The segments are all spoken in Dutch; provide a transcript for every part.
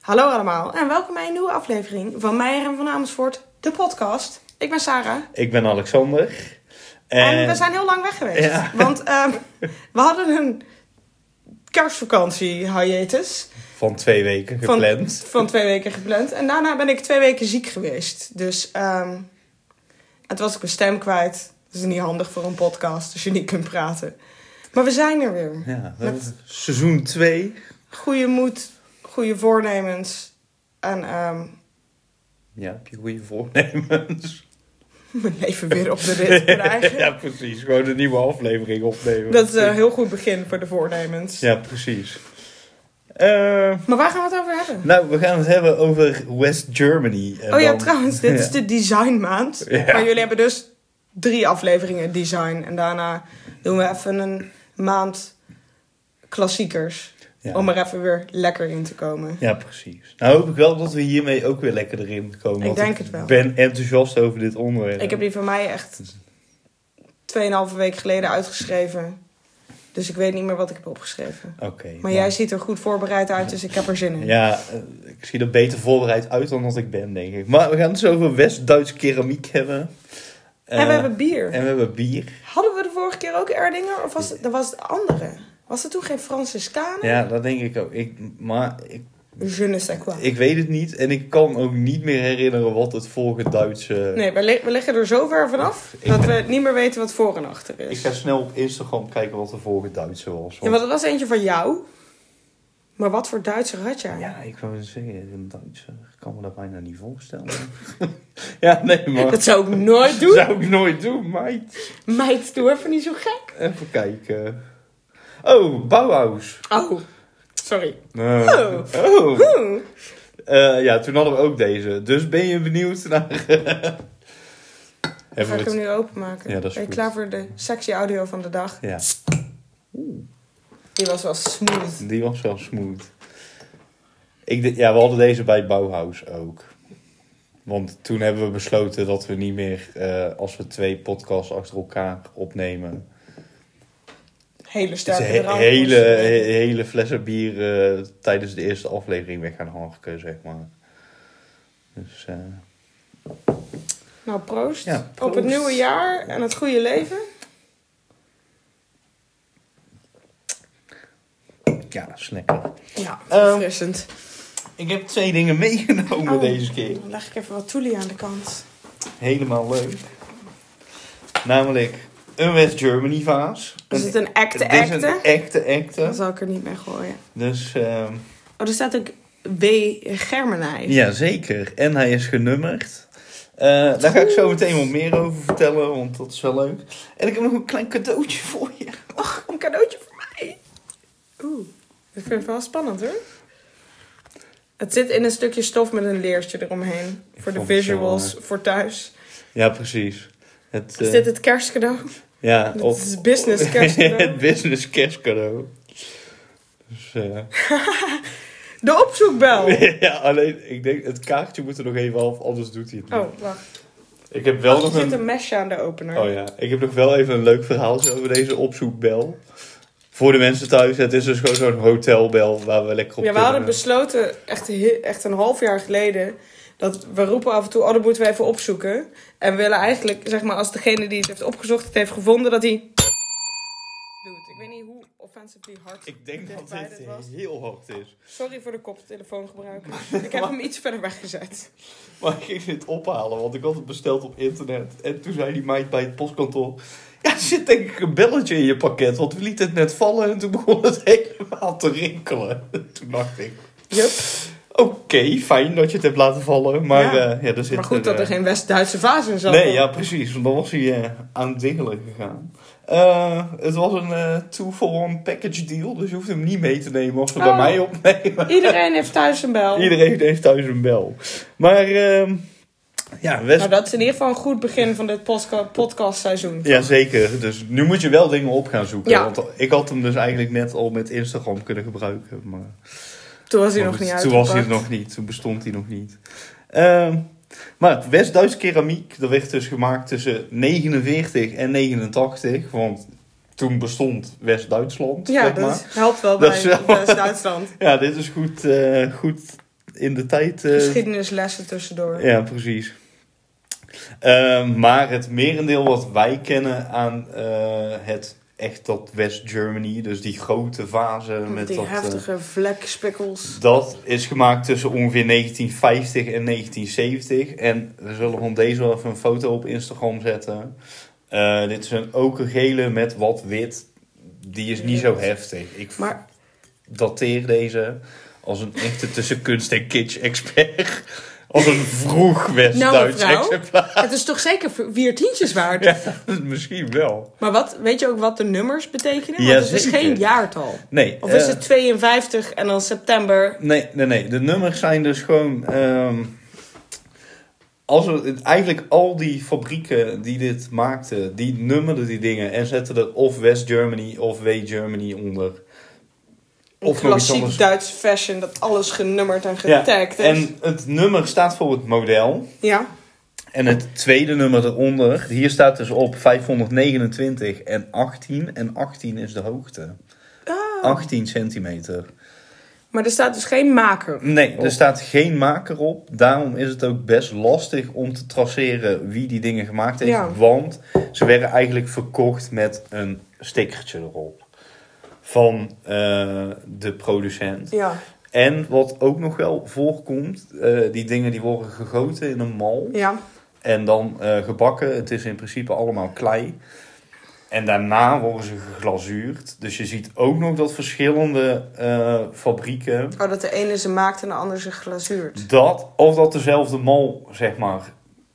Hallo allemaal en welkom bij een nieuwe aflevering van Meijer en van Amersfoort, de podcast. Ik ben Sarah Ik ben Alexander. en, we zijn heel lang weg geweest. Ja. Want ehm, we hadden een kerstvakantie hiatus van twee weken van, gepland. van twee weken gepland. En daarna ben ik twee weken ziek geweest. Dus ehm het was ik mijn stem kwijt. Dat is niet handig voor een podcast als je niet kunt praten. Maar we zijn er weer. Ja, Met- eh, seizoen 2. Goede moed, goede voornemens en ehm, Ja, heb je goede voornemens? mijn leven weer op de rit krijgen. ja, precies. Gewoon een nieuwe aflevering opnemen. Dat eh, is een heel goed begin voor de voornemens. Ja, precies. Eh, Maar waar gaan we het over hebben? nou, we gaan het hebben over West Germany. En oh ja, dan- trouwens, dit is Ja. de designmaand. Ja. Maar jullie hebben dus drie afleveringen design. En daarna doen we even een maand klassiekers. Ja. Om er even weer lekker in te komen. Ja, precies. Nou hoop ik wel dat we hiermee ook weer lekker erin komen. Ik want denk het wel. Ik ben enthousiast over dit onderwerp. Ik heb die van mij echt 2,5 week geleden uitgeschreven. Dus ik weet niet meer wat ik heb opgeschreven. Oké. nou. Maar jij ziet er goed voorbereid uit, dus ik heb er zin in. Ja, eh, ik zie er beter voorbereid uit dan dat ik ben, denk ik. Maar we gaan het zo over West-Duits keramiek hebben. Eh, en we hebben bier. en we hebben bier. Hadden we de vorige keer ook Erdinger? Of was het, dat was het andere? Was er toen geen Franciscanen? Ja, dat denk ik ook. Ik, maar ik, Je ne sais quoi. ik weet het niet. En ik kan ook niet meer herinneren wat het vorige Duitse... Nee, we, li- we liggen er zo ver vanaf eh, Ik- dat we niet meer weten wat voor en achter Ik is. ga snel op Instagram kijken wat de vorige Duitse was. Ja, want- want het was eentje van jou. Maar wat voor Duitser had jij? Ja, ik wou zeggen, een Duitse. Ik kan me dat bijna niet voorstellen. ja, nee, maar... Dat zou ik nooit doen. zou ik nooit doen, meid. Meid, doe even niet zo gek. Even kijken. Oh, Bauhaus. Oh, sorry. Eh, Oh. oh. Oeh. Eh, ja, toen hadden we ook deze. Dus ben je benieuwd naar... Dan ga Even ik hem het... nu openmaken. Ja, dat is ben je goed. klaar voor de sexy audio van de dag? Ja, Die was wel smooth. die was wel smooth. Ik d- ja, we hadden deze bij Bauhaus ook. Want toen hebben we besloten dat we niet meer... eh, als we twee podcasts achter elkaar opnemen... Hele dus sterke he- drank. hele, he- hele flessen bier eh, tijdens de eerste aflevering weg gaan harken, zeg maar. Dus... eh, Nou, proost. Ja, Op het proost. nieuwe jaar en het goede leven. ja, dat is lekker. Ja, Ehm, verfrissend. Ik heb twee dingen meegenomen Oh. deze keer. Dan leg ik even wat toelie aan de kant. Helemaal leuk. Namelijk een West Germany vaas. Is het een echte Dit is een echte? echte Dan echte. zal ik er niet mee gooien. Dus ehm, Oh, er staat ook W. Germenij. ja, zeker. En hij is genummerd. Eh, daar ga ik zo meteen wat meer over vertellen, want dat is wel leuk. En ik heb nog een klein cadeautje voor je. Och, een cadeautje voor mij. Oeh, ik vind het wel spannend hoor. Het zit in een stukje stof met een leertje eromheen. Ik Voor de vond het zo visuals, voor thuis. Ja, precies. Het, Is eh, dit het kerstcadeau? ja, dit of- is business kerstcadeau. het business kerstcadeau. Dus, eh, De opzoekbel! ja, alleen ik denk, het kaartje moet er nog even af, anders doet hij het niet. Oh, wacht. Ik heb wel Er nog zit een een mesje aan de opener. Oh ja, ik heb nog wel even een leuk verhaaltje over deze opzoekbel. Voor de mensen thuis, het is dus gewoon zo'n hotelbel waar we lekker op Ja, we kunnen. hadden besloten, echt, he- echt een half jaar geleden, dat we roepen af en toe, oh, dat moeten we even opzoeken. En we willen eigenlijk, zeg maar, als degene die het heeft opgezocht, het heeft gevonden, dat hij... Doet. Ik weet niet hoe offensively hard Ik denk dat dichtbij dit heel hard is. Sorry voor de koptelefoon gebruiken. Ik heb hem iets verder weggezet. Maar ik ging dit ophalen, want ik had het besteld op internet. En toen zei die meid bij het postkantoor... Ja, er zit denk ik een belletje in je pakket, want we lieten het net vallen. En toen begon het helemaal te rinkelen. Toen dacht ik, Yup. oké, fijn dat je het hebt laten vallen. Maar, Ja. eh, ja, er zit Maar goed een, dat er eh, geen West-Duitse vaas in zat. Nee, ja, precies. Want dan was hij eh, aan het dingelen gegaan. Eh, het was een eh two for one package deal, dus je hoeft hem niet mee te nemen als we Oh. bij mij opnemen. Iedereen heeft thuis een bel. Iedereen heeft thuis een bel. Maar ehm, ja, West... Nou, dat is in ieder geval een goed begin van dit postka- podcastseizoen. ja, zeker. Dus nu moet je wel dingen op gaan zoeken. Ja. Want ik had hem dus eigenlijk net al met Instagram kunnen gebruiken. Maar Toen was hij maar nog goed, niet uit. toen was hij er nog niet. Toen bestond hij nog niet. Ehm, maar West-Duits keramiek, dat werd dus gemaakt tussen 49 en 89. Want toen bestond West-Duitsland, Ja, zeg maar. dat helpt wel Dat bij is wel- West-Duitsland. Ja, dit is goed, eh, goed in de tijd. eh, Geschiedenislessen tussendoor. ja, precies. Eh, maar het merendeel wat wij kennen aan eh, het echt dat West Germany, dus die grote fase Met, met die dat, eh, heftige vlekspikkels. dat is gemaakt tussen ongeveer 1950 en 1970. En we zullen van deze wel even een foto op Instagram zetten. Eh, dit is een okergele met wat wit. Die is niet zo heftig. Ik Maar dateer deze als een echte tussen kunst en kitsch expert. Als een vroeg Nou, West-Duits mevrouw. exemplaar. het is toch zeker vier tientjes waard? Ja, misschien wel. Maar wat, weet je ook wat de nummers betekenen? Want Ja, het is zeker. geen jaartal. Nee. Of is eh, het 52 en dan september? Nee, nee, nee. De nummers zijn dus gewoon. ehm, als we, eigenlijk al die fabrieken die dit maakten, die nummerden die dingen en zetten er of West Germany of W Germany onder. Een Of nog iets klassiek anders. Duits fashion dat alles genummerd en getagd is. En het nummer staat voor het model. Ja. En het tweede nummer eronder, hier staat dus op 529 en 18. En 18 is de hoogte. 18 centimeter. Maar er staat dus geen maker. Nee, er staat geen maker op. Daarom is het ook best lastig om te traceren wie die dingen gemaakt heeft. Ja. Want ze werden eigenlijk verkocht met een stickertje erop. Van eh, de producent. Ja. En wat ook nog wel voorkomt, eh, die dingen die worden gegoten in een mal. Ja. En dan eh, gebakken. Het is in principe allemaal klei. En daarna worden ze geglazuurd. Dus je ziet ook nog dat verschillende eh, fabrieken Oh, dat de ene ze maakt en de ander ze glazuurt. dat, of dat dezelfde mal, zeg maar,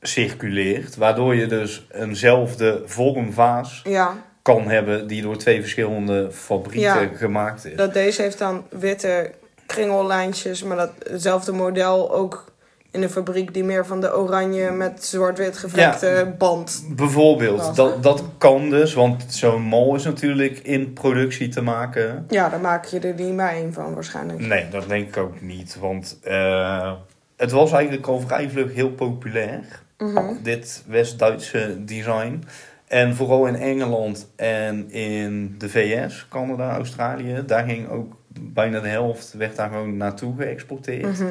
circuleert. Waardoor je dus eenzelfde vormvaas Ja. kan hebben die door twee verschillende fabrieken Ja. gemaakt is. Dat deze heeft dan witte kringellijntjes, maar dat hetzelfde model ook in de fabriek die meer van de oranje met zwart-wit gevlekte band. Bijvoorbeeld, Was, dat, dat kan dus, want zo'n mal is natuurlijk in productie te maken. Ja, daar maak je er niet maar één van waarschijnlijk. Nee, dat denk ik ook niet, want eh, het was eigenlijk al vrij vlug heel populair. Mhm. dit West-Duitse design. En vooral in Engeland en in de VS, Canada, Australië, daar ging ook bijna de helft werd daar gewoon naartoe geëxporteerd. Mhm.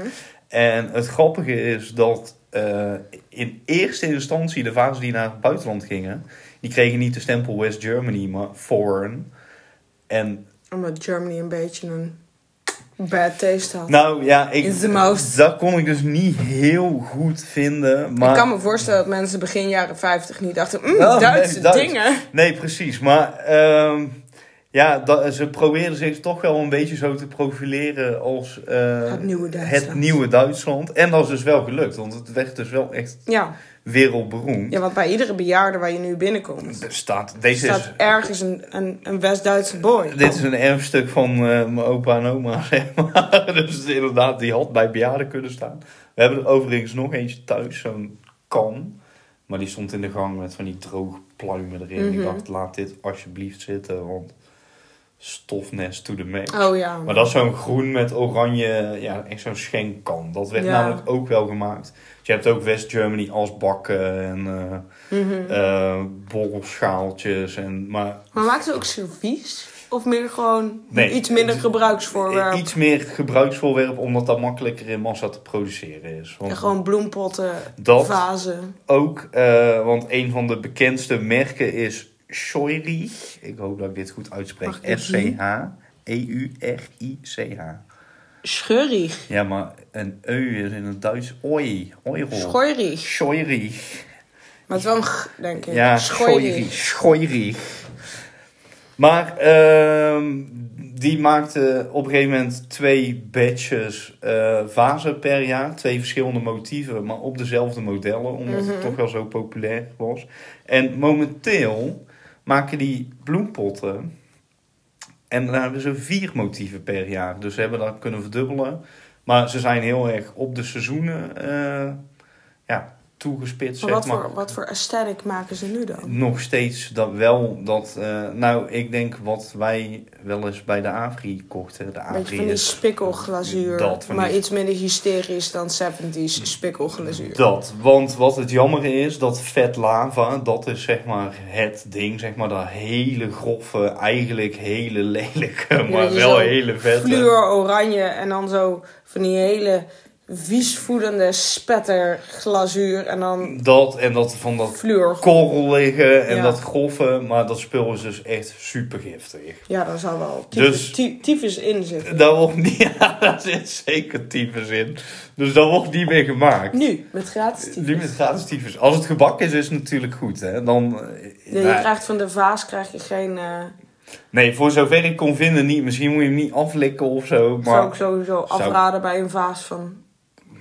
En het grappige is dat eh, in eerste instantie de vazen die naar het buitenland gingen, die kregen niet de stempel West Germany, maar foreign. En Omdat Germany een beetje een bad taste had. nou ja, ik, Is de mouse. dat kon ik dus niet heel goed vinden. Maar Ik kan me voorstellen dat mensen begin jaren 50 niet dachten, mm, Oh, nee, Duitse Duits. dingen. Nee, precies. Maar ehm, ja, dat, ze probeerden zich toch wel een beetje zo te profileren als eh, Het nieuwe Duitsland. het nieuwe Duitsland. En dat is dus wel gelukt, want het werd dus wel echt Ja. wereldberoemd. ja, want bij iedere bejaarde waar je nu binnenkomt, Er Staat, deze staat ergens een, een, een West-Duitse boy. is, dit is een erfstuk van eh, mijn opa en oma, zeg maar. Dus inderdaad, die had bij bejaarden kunnen staan. We hebben er overigens nog eentje thuis, zo'n kan. Maar die stond in de gang met van die droge pluimen erin. Ik Mhm. dacht, laat dit alsjeblieft zitten, want stofnest to the max. Oh ja. Maar dat is zo'n groen met oranje, ja, echt zo'n schenkkan. Dat werd Ja. namelijk ook wel gemaakt. Dus je hebt ook West Germany als bakken en Mhm. eh, eh, bolschaaltjes. En, maar Maar maakt het ook servies? Of meer gewoon Nee. iets minder Het- gebruiksvoorwerp? Eh, iets meer gebruiksvoorwerp, omdat dat makkelijker in massa te produceren is. En Want gewoon bloempotten, Dat- vazen. ook, eh, want een van de bekendste merken is Scheurig. Ik hoop dat ik dit goed uitspreek. Mag ik zien? E S-C-H-E-U-R-I-C-H. Scheurig. Ja, maar een eu is in het Duits oi. Oirol. Scheurig. Scheurig. Maar het is wel een g, denk ik. Ja, scheurig. Scheurig. Maar ehm, die maakte op een gegeven moment twee batches eh, vazen per jaar. Twee verschillende motieven, maar op dezelfde modellen. Omdat Mhm. het toch wel zo populair was. En momenteel maken die bloempotten. En daar hebben ze vier motieven per jaar. Dus ze hebben dat kunnen verdubbelen. Maar ze zijn heel erg op de seizoenen eh, ja, toegespitst. Maar zeg wat maar. voor, wat voor aesthetic maken ze nu dan? Nog steeds dat wel dat, eh, nou, ik denk wat wij wel eens bij de Avri Een kochten. De beetje Avri van die is spikkelglazuur. dat, van maar die- iets minder hysterisch dan 70s spikkelglazuur. dat. Want wat het jammer is, dat vet lava, dat is zeg maar het ding, zeg maar dat hele grove, eigenlijk hele lelijke, maar je wel zo hele vette. Fluor oranje en dan zo van die hele viesvoedende spetterglazuur en dan Dat en dat van dat fluor. korrel liggen en Ja. dat golven. Maar dat spul is dus echt super giftig. Ja, daar zou wel tyfus, Dus- ty- tyfus in zitten. Daar wordt niet, ja, daar zit zeker tyfus in. Dus dat wordt niet meer gemaakt. Nu, met gratis tyfus. Nu met gratis tyfus. Als het gebak is, is het natuurlijk goed. Hè? Dan, eh, Ja, nou, je krijgt van de vaas krijg je geen... eh Nee, voor zover ik kon vinden niet. Misschien moet je hem niet aflikken of zo. Maar zou ik sowieso afraden bij een vaas van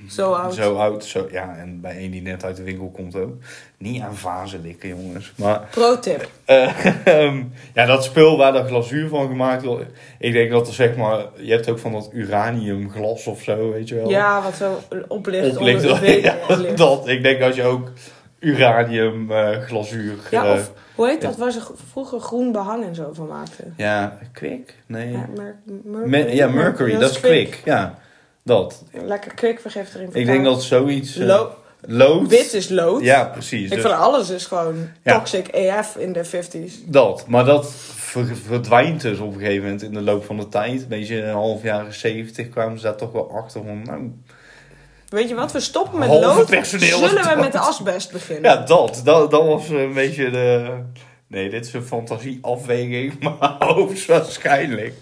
zo oud. Zo oud, zo, ja, en bij één die net uit de winkel komt ook. Niet aan vazen likken, jongens. Maar Pro tip. eh, ehm, ja, dat spul waar dat glazuur van gemaakt wordt. Ik denk dat er zeg maar, je hebt ook van dat uraniumglas of zo, weet je wel. Ja, wat zo oplicht, Oh. Oplicht- onder de ja, ja, dat. Ik denk als je ook uranium eh, glazuur. ja, eh, of hoe heet dat? Waar ze gro- vroeger groen behang en zo van maakten. ja, kwik? Nee. Ja, Ja, mer- Mercury, ja, mercury dat is kwik. Ja, dat. Lekker kwik vergeeft erin. Ik denk dat zoiets. eh, Lo- lood. Wit is lood. Ja, precies. Ik Dus- vind alles is gewoon Ja. toxic AF in de 50s. Dat, maar dat ver- verdwijnt dus op een gegeven moment in de loop van de tijd. Een beetje half jaren zeventig kwamen ze daar toch wel achter van, nou... Weet je wat? We stoppen met Halve lood. personeel is Zullen we dood. met de asbest beginnen? Ja, dat, dat, dat was een beetje de... Nee, dit is een fantasieafweging, maar hoogstwaarschijnlijk.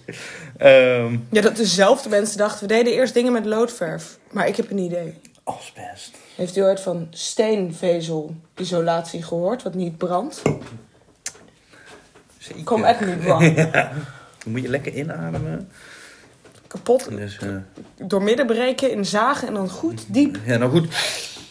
Ehm Ja, dat dezelfde mensen dachten, we deden eerst dingen met loodverf. Maar ik heb een idee. oh, asbest. Heeft u ooit van steenvezelisolatie gehoord, wat niet brandt? Zeker. Kom echt niet branden. Dan moet je lekker inademen. Kapot Dus, eh, doormidden breken in zagen en dan goed diep ja, nou goed.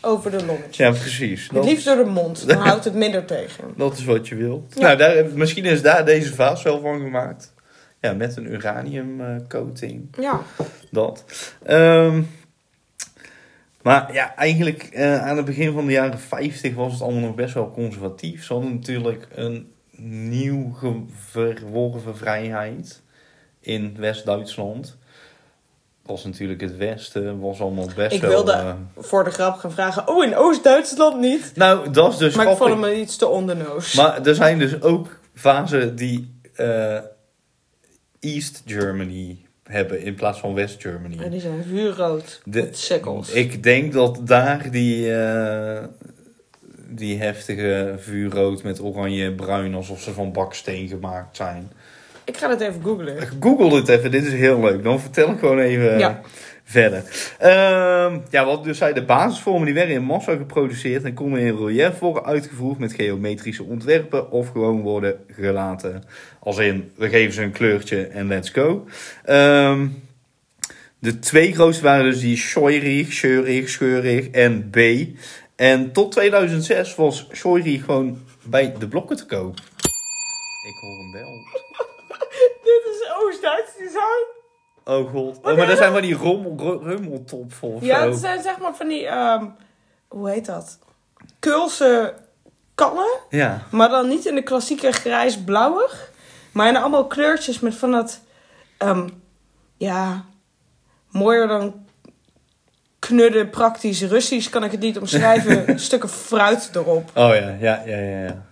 over de longetjes. Ja, precies. Het Dat, liefst door de mond, dan houdt het minder tegen. dat is wat je wil. Ja. Nou, daar, misschien is daar deze vaas wel van gemaakt. Ja, met een uraniumcoating. coating. Ja, Dat. Ehm, maar ja, eigenlijk eh, aan het begin van de jaren 50 was het allemaal nog best wel conservatief. Ze hadden natuurlijk een nieuw ge- verworven vrijheid in West-Duitsland. Was natuurlijk het Westen, was allemaal best ik wel... eh, wilde voor de grap gaan vragen, oh in Oost-Duitsland niet. nou, dat is dus Maar ik grappig. vond hem iets te ondernoos. Maar er zijn dus ook fasen die eh, East Germany hebben in plaats van West Germany. En die zijn vuurrood. De- met sikkels. Ik denk dat daar die, eh, die heftige vuurrood met oranje-bruin, alsof ze van baksteen gemaakt zijn. Ik ga dat even googlen. Google dit even, dit is heel leuk. Dan vertel ik gewoon even eh, Ja. verder. Ehm, ja, wat dus zei, de basisvormen die werden in massa geproduceerd en konden in relief worden uitgevoerd met geometrische ontwerpen of gewoon worden gelaten. Als in, we geven ze een kleurtje en let's go. Ehm, de twee grootste waren dus die Scheurig, Scheurig, Scheurig en B. En tot 2006 was Scheurig gewoon bij de blokken te koop. Ik hoor hem wel. Dit is Oost-Duits design. Oh god. Oh, maar dat zijn wel die rommel, ru- rummeltop of Ja, zo. het zijn zeg maar van die, ehm, hoe heet dat? Kulse kannen. Ja. Maar dan niet in de klassieke grijs-blauwig. Maar in allemaal kleurtjes met van dat... ehm, ja, mooier dan knudden praktisch Russisch kan ik het niet omschrijven. stukken fruit erop. Oh ja, ja, ja, ja. ja.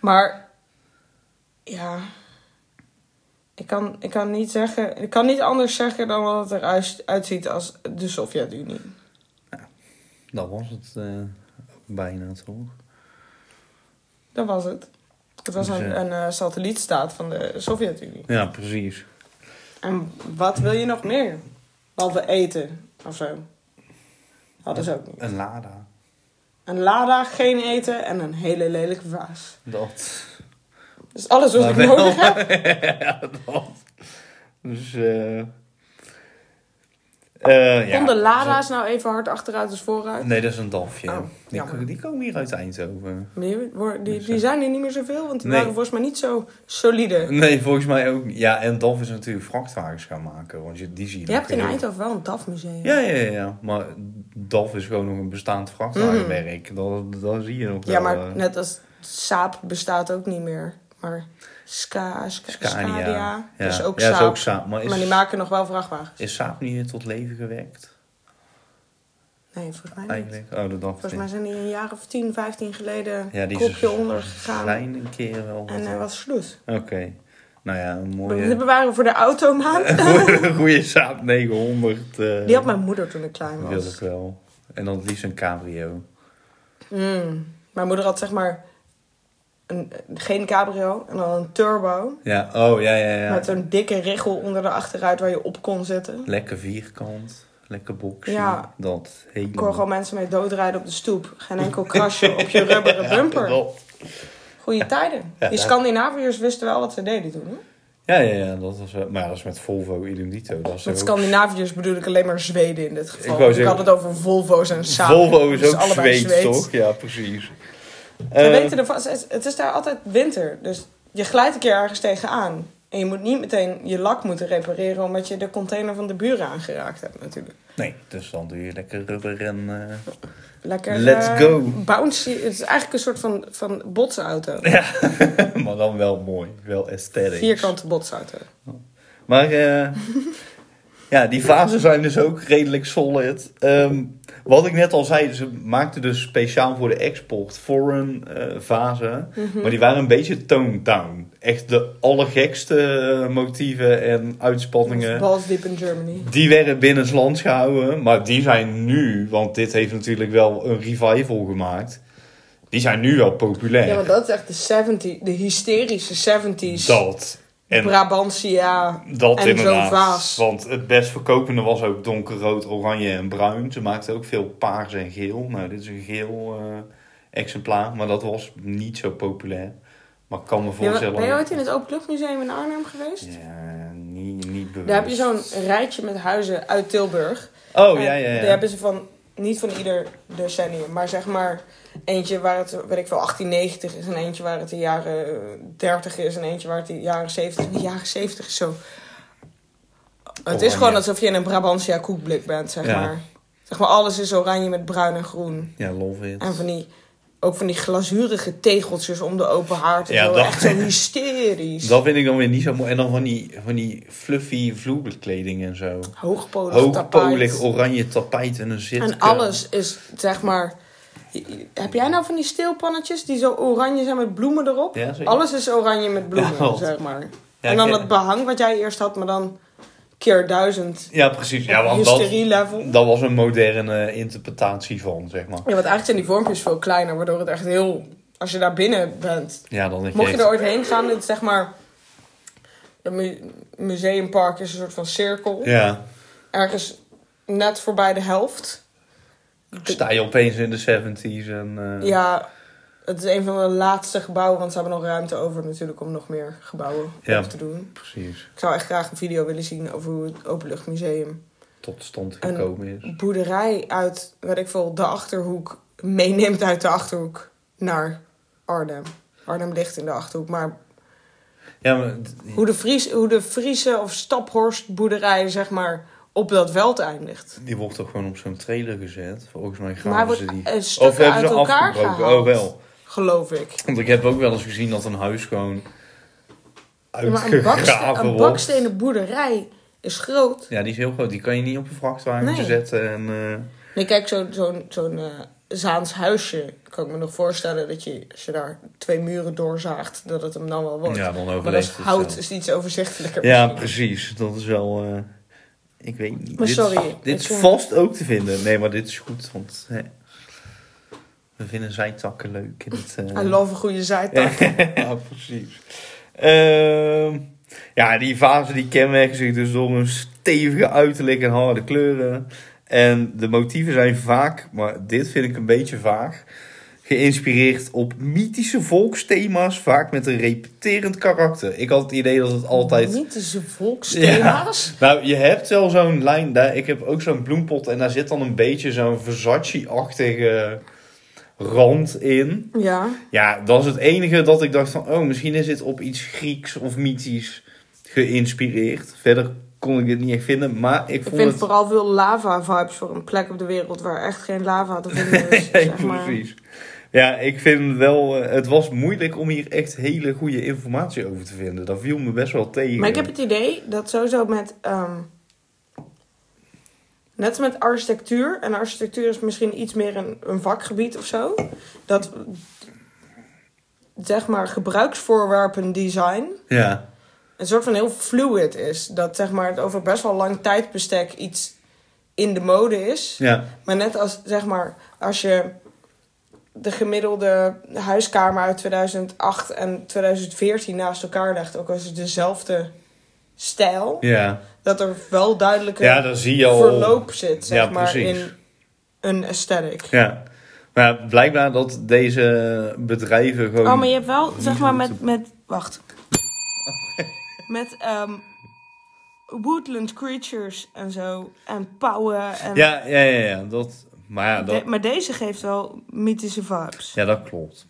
Maar ja, ik kan, ik kan niet zeggen... Ik kan niet anders zeggen dan wat het eruit uitziet als de Sovjet-Unie. Dat was het eh, bijna toch? Dat was het. Het was Dus, een, eh, een eh, satellietstaat van de Sovjet-Unie. Ja, precies. En wat wil je nog meer? Behalve eten of zo. Hadden ze Oh, ook niet. Een Lada. Een Lada, geen eten en een hele lelijke vaas. Dat. Dus alles wat Maar ik wel. nodig heb. ja, dat. Dus, eh. eh, ja. Konden Lada's nou even hard achteruit als vooruit? Nee, dat is een dafje. Oh, die, jammer. die komen hier uit Eindhoven. Die, wor- die, die zijn er niet meer zoveel, want die Nee. waren volgens mij niet zo solide. Nee, volgens mij ook niet. Ja, en DAF is natuurlijk vrachtwagens gaan maken. Want je, die zie je, Je nog hebt in heel- Eindhoven wel een DAF-museum. Ja, ja, ja, ja. Maar DAF is gewoon nog een bestaand vrachtwagenwerk. Dat, dat zie je nog Mhm. Ja, wel. maar eh. net als Saab bestaat ook niet meer. Maar Ska, Ska, Scania. Scania, Ja. is ook ja, is Saab. ook Saab. Maar is, Maar die maken nog wel vrachtwagens. is Saab niet weer tot leven gewekt? Nee, volgens mij niet. Eigenlijk. Oh, dat dacht Volgens ik. mij zijn die een jaar of 10, 15 geleden Ja, die is dus- kopje een onder gegaan. Klein een keer wel. wat- En hij was sloes. Oké. Nou ja, een eh, We mooie, bewaren we voor de automaat. een goede Saab 900. eh, Die had mijn moeder toen ik klein wil ik was. wel. En dan het liefst een cabrio. Mm. Mijn moeder had zeg maar een, eh, geen cabrio en dan een turbo. Ja, oh ja, ja, ja. Met een dikke richel onder de achteruit waar je op kon zitten. Lekker vierkant, lekker boxy. Ja. Dat hele... Ik hoor gewoon mensen mee doodrijden op de stoep. Geen enkel krasje op je rubberen bumper. Dat. Goeie tijden. Ja, Die daar- Scandinaviërs wisten wel wat ze deden toen. Hè? Ja, ja, ja, dat was wel... Maar ja, dat is met Volvo idem dito. Dat is Met ook- Scandinaviërs bedoel ik alleen maar Zweden in dit geval. Ik Ik, wou zeggen- had het over Volvo's en Saab. Volvo is Dus ook allebei Zweeds, Zweeds. toch? Ja, precies. We Eh, weten er vast, het het is daar altijd winter. Dus je glijdt een keer ergens tegenaan. En je moet niet meteen je lak moeten repareren omdat je de container van de buren aangeraakt hebt natuurlijk. Nee, dus dan doe je lekker rubber en... eh, Lekker. Let's eh, go. Bouncy. Het is eigenlijk een soort van, van botsauto. maar dan wel mooi, wel aesthetisch. Vierkante botsauto. Maar eh, ja, die vazen zijn dus ook redelijk solid. Ehm, wat ik net al zei, ze maakten dus speciaal voor de export foreign eh, vazen. Mhm. Maar die waren een beetje toned down. Echt de allergekste eh, motieven en uitspanningen. Balls deep in Germany. Die werden binnenlands gehouden, maar die zijn nu, want dit heeft natuurlijk wel een revival gemaakt. Die zijn nu wel populair. Ja, maar dat is echt de 70 de hysterische 70s. dat. En Brabantia. Dat En zo'n inderdaad. vaas. Want het best verkopende was ook donkerrood, oranje en bruin. Ze maakten ook veel paars en geel. Nou, dit is een geel eh, exemplaar, maar dat was niet zo populair. Maar ik kan me Ja, maar voorstellen. ben je ooit in het Open Lucht Museum in Arnhem geweest? Ja, niet, niet bewust. Daar heb je zo'n rijtje met huizen uit Tilburg. Oh En ja, ja, Daar ja. hebben ze van, niet van ieder decennium, maar zeg maar eentje waar het, weet ik veel, 1890 is en eentje waar het de jaren eh, 30 is en eentje waar het de jaren 70 is. De jaren 70 is zo. Het is Oranje. gewoon alsof je in een Brabantia koekblik bent, zeg Ja. maar. Zeg maar, alles is oranje met bruin en groen. Ja, love it. En van die, ook van die glazurige tegeltjes om de open haard. en Ja, zo. dat- Echt zo hysterisch. Dat vind ik dan weer niet zo mooi. En dan van die, van die fluffy vloerkleding en zo. Hoogpolig tapijt. Hoogpolig oranje tapijt en een zit. En alles is, zeg maar... Heb jij nou van die steelpannetjes die zo oranje zijn met bloemen erop? Ja, zeker. Alles is oranje met bloemen, Ja, want- zeg maar. Ja, en dan ik- dat behang wat jij eerst had, maar dan keer duizend. Ja, precies. Ja, want dat, Hysterie level. dat was een moderne interpretatie van, zeg maar. Ja, want eigenlijk zijn die vormpjes veel kleiner, waardoor het echt heel... Als je daar binnen bent, Ja, dan denk Mocht je echt- er ooit heen gaan, dit is zeg maar. Het mu- museumpark is een soort van cirkel. Ja, Ergens net voorbij de helft. sta je opeens in de 70s en. eh, Ja, het is een van de laatste gebouwen, want ze hebben nog ruimte over natuurlijk om nog meer gebouwen Ja. op te doen. Precies. Ik zou echt graag een video willen zien over hoe het Openluchtmuseum Tot stand En- gekomen is. een boerderij uit, weet ik veel, de achterhoek meeneemt uit de achterhoek naar Arnhem. Arnhem ligt in de achterhoek, maar Ja, maar. d- Hoe de, Fries, hoe de Friese of Staphorst boerderij, zeg maar, op dat veld eindigt. Die wordt toch gewoon op zo'n trailer gezet? Volgens mij maar hij gaan wordt ze die. eh, stukken uit elkaar gehaald. Oh, wel. Geloof ik. Want ik heb ook wel eens gezien dat een huis gewoon. Ja, maar een, bakste- uitgegraven een wordt. bakstenen boerderij is groot. Ja, die is heel groot. Die kan je niet op een vrachtwagentje Nee. zetten. En, eh, Nee, kijk, zo'n zo'n zo'n, eh, Zaans huisje. Kan ik me nog voorstellen dat je, als je daar twee muren doorzaagt, dat het hem dan wel wordt. ja, dan maar dat overleeft is het hout, wel. is iets overzichtelijker. Ja, misschien. precies. Dat is wel. eh, ik weet niet. Maar dit sorry, Is, dit ik, is eh, vast ook te vinden. Nee, maar dit is goed. Want hè, we vinden zijtakken leuk. In het, eh, I love een goede zijtak. ja, precies. Ehm, ja, die fase die kenmerken zich dus door een stevige uiterlijk en harde kleuren. En de motieven zijn vaak, maar dit vind ik een beetje vaag, geïnspireerd op mythische volksthema's, vaak met een repeterend karakter. Ik had het idee dat het altijd... Mythische volksthema's. Nou, je hebt wel zo'n lijn daar. Ik heb ook zo'n bloempot en daar zit dan een beetje zo'n Versace-achtige rand in. ja. Ja, dat is het enige dat ik dacht van... Oh, misschien is dit op iets Grieks of mythisch geïnspireerd. Verder kon ik dit niet echt vinden, maar ik Ik vond vind het... vooral veel lava-vibes voor een plek op de wereld waar echt geen lava te vinden is. Nee, zeg maar. precies. Ja, ik vind wel... eh, het was moeilijk om hier echt hele goede informatie over te vinden. Dat viel me best wel tegen. Maar ik heb het idee dat sowieso met. ehm, net als met architectuur, en architectuur is misschien iets meer een, een vakgebied of zo. Dat zeg maar gebruiksvoorwerpen design Ja, een soort van heel fluid is. Dat zeg maar het over best wel lang tijdbestek iets in de mode is. Ja. Maar net als, zeg maar, als je de gemiddelde huiskamer uit 2008 en 2014 naast elkaar legt, ook als het dezelfde stijl, Ja. dat er wel duidelijke ja, dan zie je al... eh, verloop zit, zeg Ja, maar, precies. in een aesthetic. Ja. Maar blijkbaar dat deze bedrijven gewoon... Oh, maar je hebt wel, zeg niet maar, goed met, met wacht. Met ehm, woodland creatures en zo, en pauwen en... Ja, ja, ja, ja. Dat... Maar ja, dat... De- maar deze geeft wel mythische vibes. Ja, dat klopt.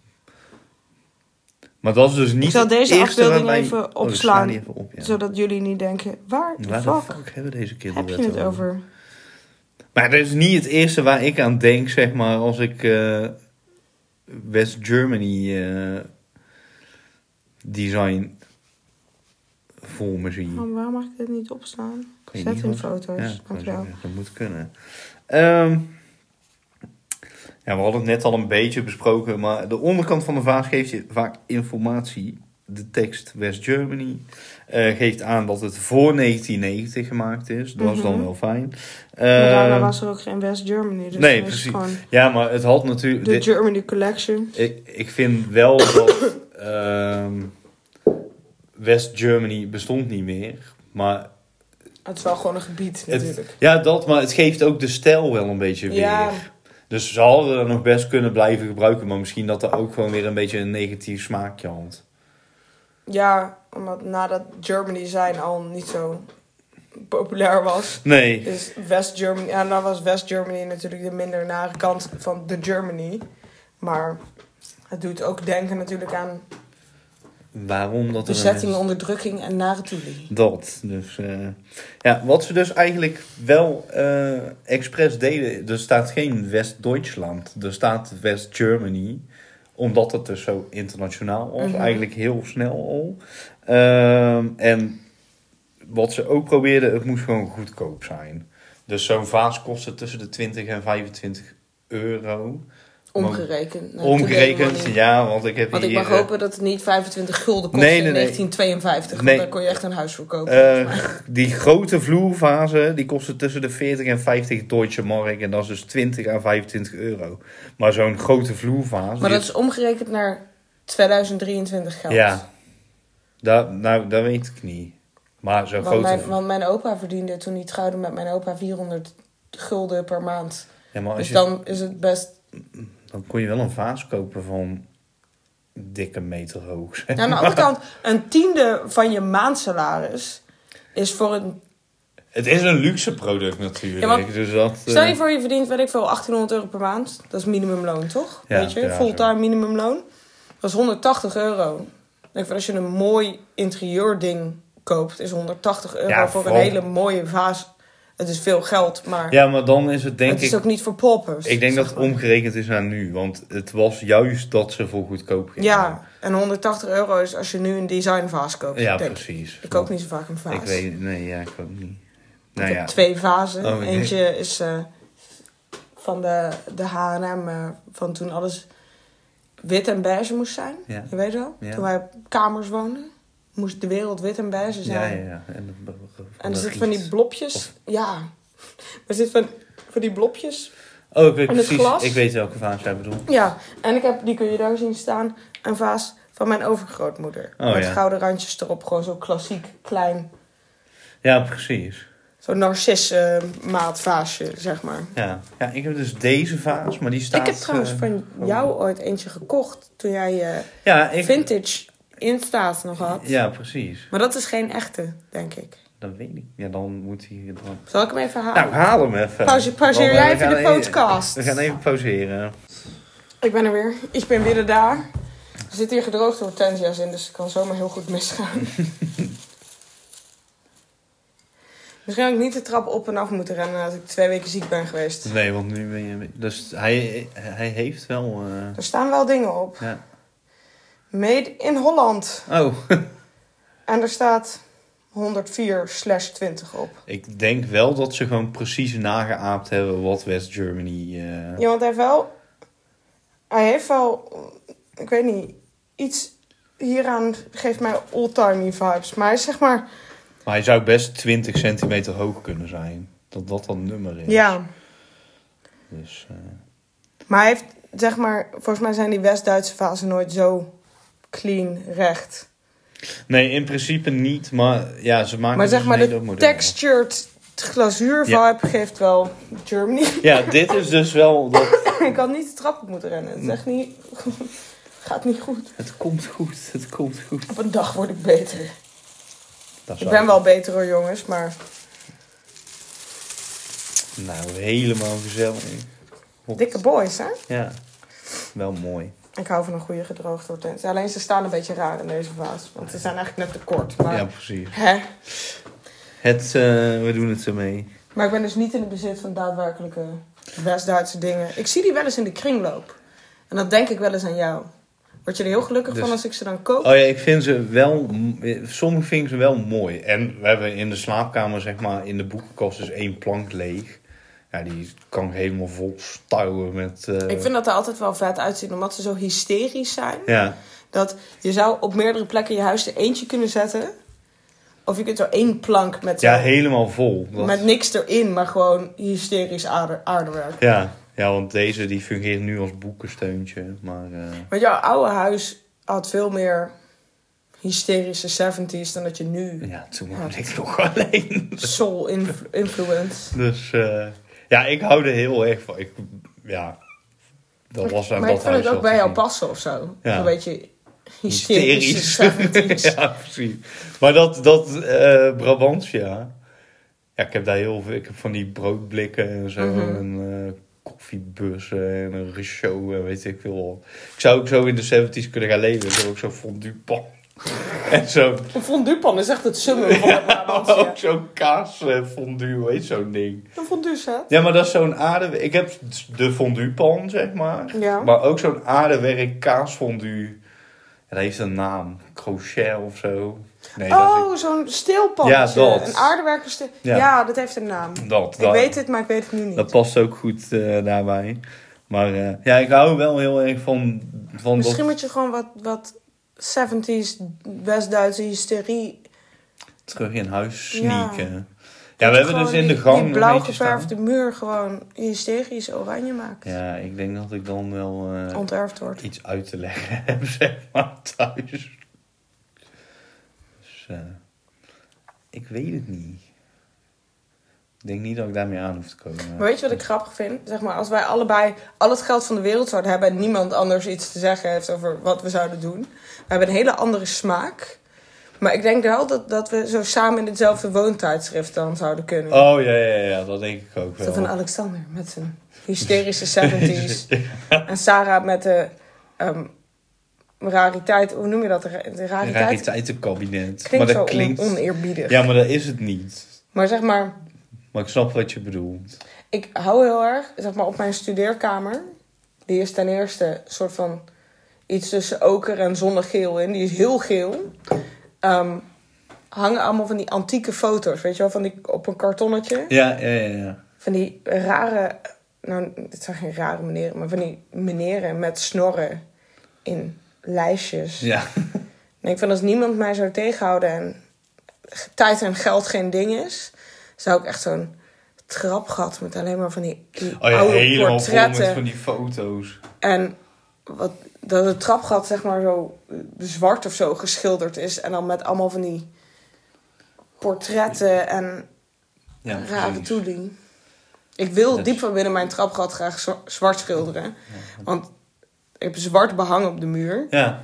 Maar dat is dus niet Ik zal het deze eerste afbeelding waarbij- even Oh, ik sla opslaan, die even op, ja. Zodat jullie niet denken, waar de Waar fuck, de fuck hebben deze kinderen heb je het over? Maar dat is niet het eerste waar ik aan denk, zeg maar, als ik eh, West Germany eh, design voor me zie. Maar waarom mag ik dit niet opslaan? Kan je Zet niet in wat- foto's, Ja, kan dankjewel. zeggen, dat moet kunnen. Ehm, ja, we hadden het net al een beetje besproken, maar de onderkant van de vaas geeft je vaak informatie. De tekst West Germany eh, geeft aan dat het voor 1990 gemaakt is. Dat is dan Mhm. wel fijn. Maar daarna Ehm, was er ook geen West Germany, dus nee, dan is het precies. gewoon Ja, maar het had natuurlijk. de dit- Germany Collection. ik, ik vind wel dat. ehm, West Germany bestond niet meer. Maar Het is wel gewoon een gebied het, natuurlijk. ja, dat, maar het geeft ook de stijl wel een beetje weer. Ja. Dus ze hadden dat nog best kunnen blijven gebruiken. Maar misschien dat er ook gewoon weer een beetje een negatief smaakje had. Ja, omdat nadat Germany zijn al niet zo populair was. Nee. Dus West Germany, ja, nou was West Germany natuurlijk de minder nare kant van de Germany. Maar het doet ook denken natuurlijk aan Waarom dat er een- bezetting, onderdrukking en nare toelie. Dat. Dus, eh, ja, wat ze dus eigenlijk wel eh, expres deden. Er staat geen West-Duitsland. Er staat West-Germany. Omdat het dus zo internationaal was. Mhm. Eigenlijk heel snel al. Ehm, en wat ze ook probeerden, het moest gewoon goedkoop zijn. Dus zo'n vaas kostte tussen de 20 en 25 euro. Omgerekend. naar today Omgerekend, money. ja, want ik heb Want ik hier... mag eh, hopen dat het niet 25 gulden kost Nee, nee, in nee. 1952. Nee. Want daar kon je echt een huis voor kopen. Eh, die grote vloervazen die kosten tussen de 40 en 50 Deutsche Mark. En dat is dus 20 à 25 euro. Maar zo'n grote vloervaas. maar die- dat is omgerekend naar 2023 geld. Ja. Dat, nou, dat weet ik niet. Maar zo'n Want grote. mijn, vlo- want mijn opa verdiende toen hij trouwde met mijn opa 400 gulden per maand. ja, maar Oh, als Dus je, dan is het best... dan kon je wel een vaas kopen van dikke meter hoog. zeg. Nou, aan de andere kant, een tiende van je maandsalaris is voor een... Het is een luxe product natuurlijk. Ja, want- dus dat, eh, Stel je voor je verdient, weet ik veel, 1800 euro per maand. Dat is minimumloon, toch? Ja, weet je, ja, fulltime minimumloon. Dat is 180 euro. Ik denk van, als je een mooi interieurding koopt, is 180 euro Ja, voor vol. een hele mooie vaas. Het is veel geld, maar ja, maar dan is het denk het is ik. ook niet voor poppers. Ik denk dat het omgerekend is naar nu. Want het was juist dat ze voor goedkoop gingen. Ja, en 180 euro is als je nu een designvaas koopt. Ja, denk ik. precies. Ik koop niet zo vaak een vaas. Ik weet nee, ja, ik ook niet. Ik Nou heb ja, twee vazen. Oh, nee. Eentje is eh, van de, de H&M eh, van toen alles wit en beige moest zijn. Ja. Je weet wel? Ja. Toen wij op kamers woonden, moest de wereld wit en beige ja, zijn. ja, ja. En, de- van En er de zitten van die riet. blopjes. Of- Ja. Er zitten van, van die blopjes. Oh, ik weet en het precies. glas. Ik weet welke vaas jij bedoelt. Ja. En ik heb, die kun je daar zien staan, een vaas van mijn overgrootmoeder. Oh, Met ja. gouden randjes erop. Gewoon zo klassiek, klein. Ja, precies. Zo'n narcis eh, maatvaasje, zeg maar. Ja. ja, ik heb dus deze vaas, maar die staat... Ik heb trouwens eh, van gewoon- jou ooit eentje gekocht toen jij je Ja, ik... vintage instaat nog had. Ja, precies. Maar dat is geen echte, denk ik. Dat weet ik. Ja, dan moet hij... Dan... Zal ik hem even halen? Nou, haal hem even. Pauze- pauzeer Dan, eh, jij we even gaan de even- podcast. We gaan even pauzeren. Ik ben er weer. Ik ben weer daar. Er zitten hier gedroogde hortensia's in, dus het kan zomaar heel goed misgaan. Misschien had ik niet de trap op en af moeten rennen nadat ik twee weken ziek ben geweest. Nee, want nu ben je... Dus hij, hij heeft wel... eh, Er staan wel dingen op. Ja. Made in Holland. Oh, En er staat 104 20 op. ik denk wel dat ze gewoon precies nageaapt hebben wat West Germany... eh, Ja, want hij heeft wel... Hij heeft wel... Ik weet niet. Iets hieraan geeft mij oldtimey vibes. Maar hij is zeg maar... Maar hij zou best 20 centimeter hoog kunnen zijn. Dat dat dan nummer is. Ja. Dus, eh, Maar hij heeft, zeg maar... Volgens mij zijn die West-Duitse vazen nooit zo clean, recht. nee, in principe niet. Maar ja, ze maken maar dus zeg maar een hele de model. textured glazuur vibe geeft wel Germany. Ja, dit is dus wel... Dat, Ik had niet de trap op moeten rennen. Het is echt niet... Gaat niet goed. het komt goed, het komt goed. Op een dag word ik beter. Dat Ik zou- ben wel beter hoor jongens, maar... Nou, helemaal gezellig. Hot. Dikke boys, hè? Ja, wel mooi. Ik hou van een goede gedroogde hortensia. Alleen ze staan een beetje raar in deze vaas. Want ze zijn eigenlijk net te kort. Maar, Ja, precies. hè? Het, eh, we doen het ermee. maar ik ben dus niet in het bezit van daadwerkelijke West-Duitse dingen. Ik zie die wel eens in de kringloop. En dat denk ik wel eens aan jou. Word je er heel gelukkig Dus- van als ik ze dan koop? Oh ja, ik vind ze wel... m- eh, Sommige vind ik ze wel mooi. En we hebben in de slaapkamer, zeg maar, in de boekenkast dus één plank leeg. Ja, die kan ik helemaal vol stuwen met... eh, Ik vind dat er altijd wel vet uitzien, omdat ze zo hysterisch zijn. Ja, Dat je zou op meerdere plekken in je huis er eentje kunnen zetten. Of je kunt zo één plank met, ja zo- helemaal vol. Dat- met niks erin, maar gewoon hysterisch aarde, aardewerk. ja. ja, want deze die fungeert nu als boekensteuntje. Maar eh, Want jouw oude huis had veel meer hysterische 70s dan dat je nu ja, toen was ik nog alleen. soul inf- influence. Dus eh, ja, ik hou er heel erg van. Ik, ja, dat was aan maar ik dat vind huis het ook bij wel te jou zien. passen of zo. Ja. Een beetje hysterische 70s. ja, precies. Maar dat, dat eh Brabantia. Ja, ik heb daar heel veel. Ik heb van die broodblikken en zo. Mhm. En eh koffiebussen en een richaud en weet ik veel. wat. Ik zou ook zo in de 70s kunnen gaan leven. Ik heb ook zo'n fondue pan. en zo, Een fonduepan is echt het summum van de Brabantia. ook zo'n kaas eh, fondue, weet zo'n ding. Een fondue set. Ja, maar dat is zo'n aarde. Ik heb de fonduepan, zeg maar. Ja. Maar ook zo'n aardewerk kaasfondue. Ja, dat heeft een naam. Crochet of zo. Nee, dat oh, zo'n steelpannetje. Ja, dat. Een aardewerker steel... Ja. ja. dat heeft een naam. is- dat, Ik dat, weet het, maar ik weet het nu niet. dat past ook goed eh, daarbij. Maar eh, ja, ik hou wel heel erg van, van Misschien dat moet je gewoon wat, wat 70s West-Duitse hysterie... terug in huis Ja. sneaken. Ja, we hebben dus Gewoon in de die- gang Die een blauw beetje staan. geverfde muur gewoon hysterisch oranje maakt. Ja, ik denk dat ik dan wel eh, Onterfd wordt. iets uit te leggen heb, zeg maar, thuis. Dus, eh, ik weet het niet. Ik denk niet dat ik daarmee aan hoef te komen. Maar weet je wat ik grappig vind? Zeg maar, als wij allebei al het geld van de wereld zouden hebben... en niemand anders iets te zeggen heeft over wat we zouden doen... we hebben een hele andere smaak... Maar ik denk wel dat, dat we zo samen in hetzelfde woontijdschrift dan zouden kunnen. Oh ja, ja, ja, dat denk ik ook Zo wel. van Alexander met zijn hysterische 70s. en Sarah met de ehm, rariteit, hoe noem je dat? De ra- de Een rariteit Rariteitenkabinet. klinkt maar dat zo klinkt. on- oneerbiedig. ja, maar dat is het niet. Maar zeg maar, Maar ik snap wat je bedoelt. ik hou heel erg, zeg maar, op mijn studeerkamer. Die is ten eerste een soort van iets tussen oker en zonnegeel in. Die is heel geel. Ehm, hangen allemaal van die antieke foto's, weet je wel, van die, op een kartonnetje. Ja, ja, ja. ja. Van die rare, nou, het zijn geen rare meneren, maar van die meneren met snorren in lijstjes. ja. En ik vind als niemand mij zou tegenhouden en g- tijd en geld geen ding is, zou ik echt zo'n trapgat met alleen maar van die, die Oh ja, oude helemaal vol portretten. met van die foto's. En wat, dat het trapgat zeg maar zo eh, zwart of zo geschilderd is en dan met allemaal van die portretten en Ja, rare precies. toeding. Ik wil Dat- diep van binnen mijn trapgat graag zwa- zwart schilderen. Want ik heb zwart behang op de muur. Ja,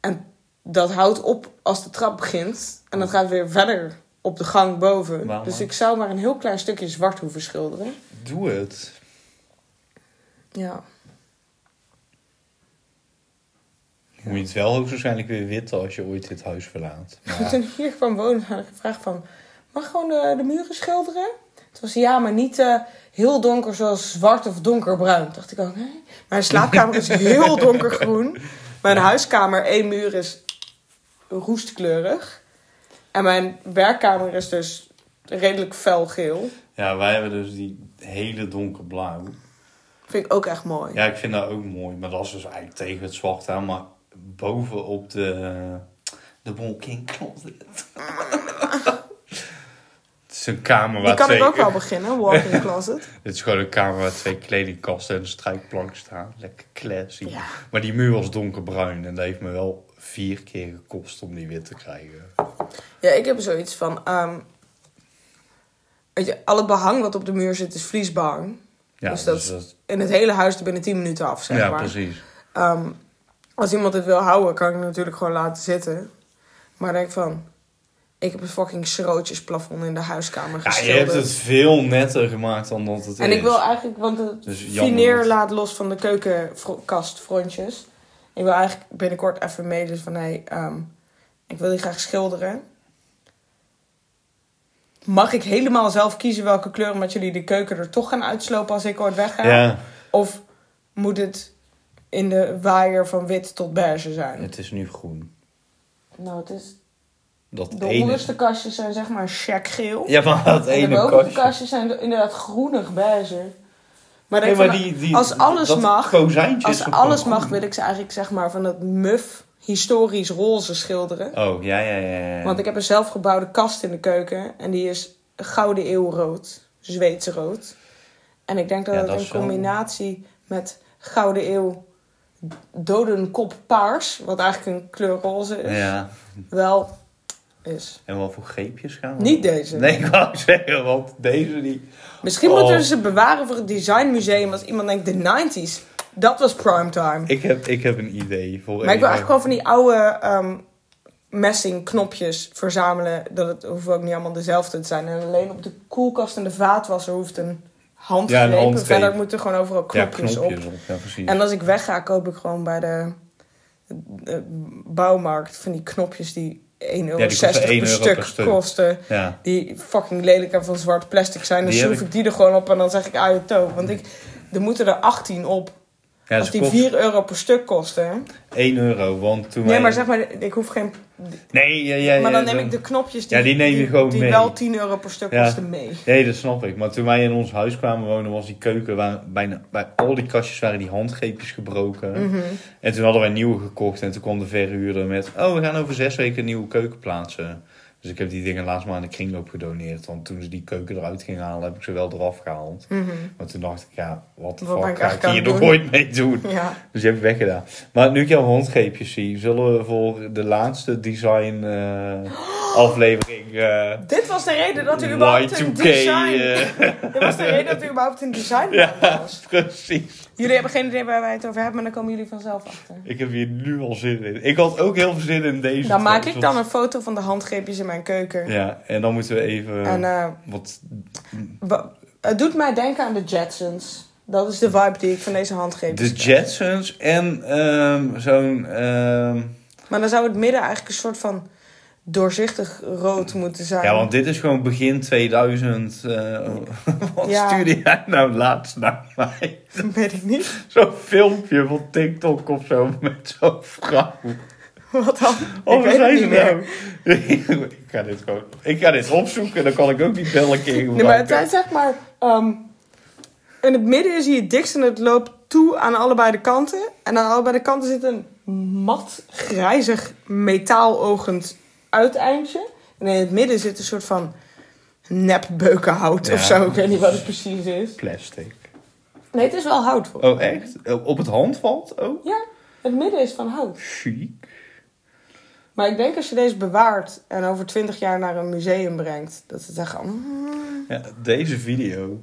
En dat houdt op als de trap begint. En dat gaat weer verder op de gang boven. Waarom? Dus ik zou maar een heel klein stukje zwart hoeven schilderen. doe het. Ja. Dan Moet je het wel hoogstwaarschijnlijk weer witten als je ooit dit huis verlaat. Maar- Toen ik hier kwam wonen, had ik gevraagd van... Mag ik gewoon de, de muren schilderen? Toen was hij, ja, maar niet eh, heel donker zoals zwart of donkerbruin. Toen dacht ik ook, hè? Mijn slaapkamer is heel donkergroen. Mijn huiskamer, één muur is roestkleurig. En mijn werkkamer is dus redelijk felgeel. Ja, wij hebben dus die hele donkerblauw. Vind ik ook echt mooi. Ja, ik vind dat ook mooi, maar dat is dus eigenlijk tegen het zwart aan. Maar boven op de, de walk-in closet. Het is een kamer waar Die kan twee... ik ook wel beginnen, walk-in closet. Het is gewoon een kamer waar twee kledingkasten en een strijkplank staan. Lekker classy. Ja. Maar die muur was donkerbruin en dat heeft me wel vier keer gekost om die weer te krijgen. Ja, ik heb zoiets van... ehm, weet je, al het behang wat op de muur zit is vliesbehang. Ja, dus dus dat, dat- in het hele huis er binnen 10 minuten af, zeg ja maar. precies. Ehm, als iemand het wil houden, kan ik het natuurlijk gewoon laten zitten. Maar ik denk van... Ik heb een fucking schrootjesplafond in de huiskamer Ja, geschilderd. je hebt het veel netter gemaakt dan dat het En is. ik wil eigenlijk, want het Dus jammer fineer dat- laat los van de keukenkastfrontjes. Ik wil eigenlijk binnenkort even mailen van hey, ehm, ik wil die graag schilderen. Mag ik helemaal zelf kiezen welke kleur, omdat jullie de keuken er toch gaan uitslopen als ik ooit wegga? Ja, Of moet het in de waaier van wit tot beige zijn? het is nu groen. Nou, het is, Dat de ene... onderste kastjes zijn zeg maar check geel. Ja, maar dat En de ene bovenste kastje. kastjes zijn inderdaad groenig beige. Maar, Nee, ik maar van, die, die, als alles dat mag, kozijntje is als gewoon alles groen. mag, wil ik ze eigenlijk zeg maar van dat muf historisch roze schilderen. Oh, ja, ja, ja. ja. Want ik heb een zelfgebouwde kast in de keuken en die is gouden eeuwrood, Zweedse rood. En ik denk dat Ja, het dat in is wel- combinatie met gouden eeuw dodenkop paars, wat eigenlijk een kleur roze is, Ja, wel is. en wat voor greepjes gaan we? Niet deze. Nee, ik wou zeggen, want deze die... Misschien Oh. moeten we ze bewaren voor het designmuseum als iemand denkt de 90s. Dat was primetime. Ik heb, ik heb een idee voor Maar ik wil een- eigenlijk gewoon van die oude ehm, messing knopjes verzamelen. Dat het hoeven ook niet allemaal dezelfde te zijn. En alleen op de koelkast en de vaatwasser hoeft een handgreep. Ja, een En handgreep. Verder moeten gewoon overal eh, Ja, knopjes, knopjes op. op. Ja, precies. En als ik wegga, koop ik gewoon bij de, de bouwmarkt van die knopjes die 1,60 euro, Ja, die kosten 1 per, euro stuk per stuk. kosten. Ja. Die fucking lelijk en van zwart plastic zijn. Dan Die heb schroef ik- ik die er gewoon op en dan zeg ik uit het toe. Want ik, er moeten er 18 op. Ja, als ze die kost 4 euro per stuk kosten. hè. 1 euro, want toen Nee, wij- maar zeg maar, ik hoef geen. Nee, ja, ja, Maar ja, dan neem ik de knopjes die, Ja, die neem je gewoon die mee. wel 10 euro per stuk Ja. kosten mee. Nee, dat snap ik. Maar toen wij in ons huis kwamen wonen, was die keuken... Waar, bijna, bij al die kastjes waren die handgreepjes gebroken. Mhm. En toen hadden wij nieuwe gekocht. En toen kwam de verhuurder met... Oh, we gaan over zes weken een nieuwe keuken plaatsen. Dus ik heb die dingen laatst maar aan de kringloop gedoneerd. Want toen ze die keuken eruit gingen halen, heb ik ze wel eraf gehaald. Mhm, Maar toen dacht ik, ja, wat de Wat ben fuck ik ga ik eigenlijk aan hier het nog doen? ooit mee doen? Ja. Dus die heb ik weggedaan. Maar nu ik jouw handgreepjes zie, zullen we voor de laatste design eh, aflevering eh Dit was de reden dat u überhaupt een Y2K. design. eh, Dit was de reden dat u überhaupt een design ja, was. precies. Jullie hebben geen idee waar wij het over hebben, maar dan komen jullie vanzelf achter. Ik heb hier nu al zin in. Ik had ook heel veel zin in deze. Dan maak trouwens, ik dan want- een foto van de handgreepjes in mijn keuken. Ja, en dan moeten we even. En eh, wat, wa- het doet mij denken aan de Jetsons. Dat is de vibe die ik van deze handgreepjes de Jetsons en ehm, zo'n. ehm, Maar dan zou het midden eigenlijk een soort van doorzichtig rood moeten zijn. ja, want dit is gewoon begin 2000. eh, wat Ja. stuurde jij nou laatst naar mij? Dat weet ik niet. Zo'n filmpje van TikTok of zo met zo'n vrouw. Wat dan? Oh, ik waar weet het zijn ze niet meer. nou? ik, ga dit gewoon, ik ga dit opzoeken, dan kan ik ook die bellen keer Nee, maar het gebruiken. zijn zeg maar... ehm, in het midden is hij het dikst en het loopt toe aan allebei de kanten. En aan allebei de kanten zit een mat, grijzig, metaaloogend uiteindje. En in het midden zit een soort van nep beukenhout Ja. of zo. Ik weet niet wat het precies is. Plastic. Nee, het is wel hout voor. Oh, echt? Op het handvat ook? Ja, het midden is van hout. Chic. Maar ik denk als je deze bewaart en over twintig jaar naar een museum brengt, dat ze zeggen... "Mm." Ja, deze video.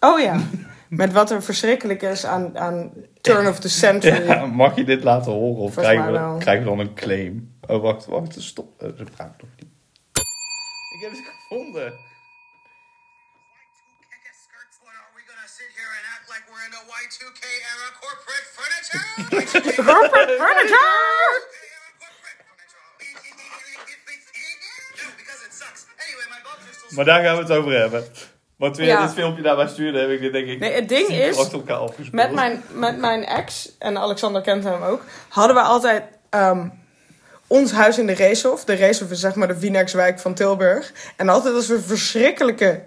Oh ja, met wat er verschrikkelijk is aan, aan turn of the century. Ja, mag je dit laten horen of Volgens krijgen we, mij wel. krijgen we dan een claim? Oh, wacht, wacht, stop. Eh, Ze praat nog niet. Ik heb ze gevonden. Y2K skirts. What are we gonna sit here and act like we're in the Y2K era corporate furniture? Y2K Corporate furniture! era corporate furniture. No, because it sucks. Anyway, my bulbs are still Maar daar gaan we het over hebben. Want toen jij Ja. dit filmpje naar mij stuurde, heb ik dit denk ik Nee, het ding tien is, achter elkaar afgespeeld. Met mijn, met mijn ex, en Alexander kent hem ook, hadden we altijd ehm, ons huis in de Reeshof. De Reeshof is zeg maar de Wienexwijk van Tilburg. En altijd als we verschrikkelijke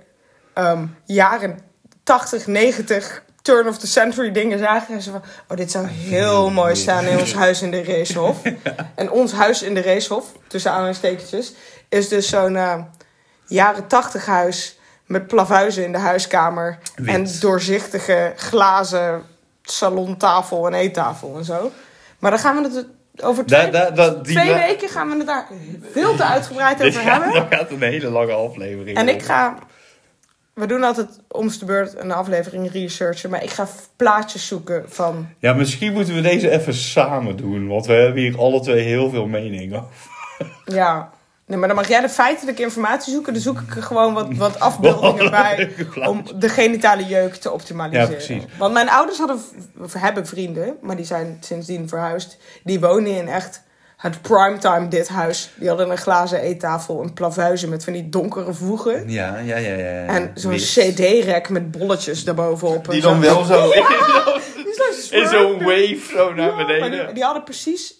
ehm, jaren 80, 90, turn of the century dingen zagen. En ze van, oh, dit zou heel mooi staan in ons huis in de Racehof. En ons huis in de Racehof, tussen aanhalingstekentjes, is dus zo'n eh, jaren tachtig huis met plavuizen in de huiskamer. Wit. En doorzichtige glazen salontafel en eettafel en zo. Maar daar gaan we het over twee, Daar- daar- daar- nou, die twee la- weken gaan we het daar veel te uitgebreid Dit over hebben. gaat, dat gaat een hele lange aflevering. En ik worden. ga. We doen altijd om de beurt een aflevering researchen. Maar ik ga f- plaatjes zoeken van. Ja, misschien moeten we deze even samen doen. Want we hebben hier alle twee heel veel meningen over. Ja. Nee, maar dan mag jij de feitelijke informatie zoeken. Dan zoek ik er gewoon wat, wat afbeeldingen Wat bij. Oh, leuke plaatjes. Om de genitale jeuk te optimaliseren. Ja, precies. Want mijn ouders hadden, v- of hebben vrienden. Maar die zijn sindsdien verhuisd. Die wonen in echt het primetime dit huis. Die hadden een glazen eettafel. Een plavuizen met van die donkere voegen. Ja, ja, ja. ja. En zo'n cd-rek met bolletjes daarbovenop. Die en dan zo. wel zo in Die is like zo'n- in zo'n swerved. wave zo naar Ja, maar die, beneden. die hadden precies.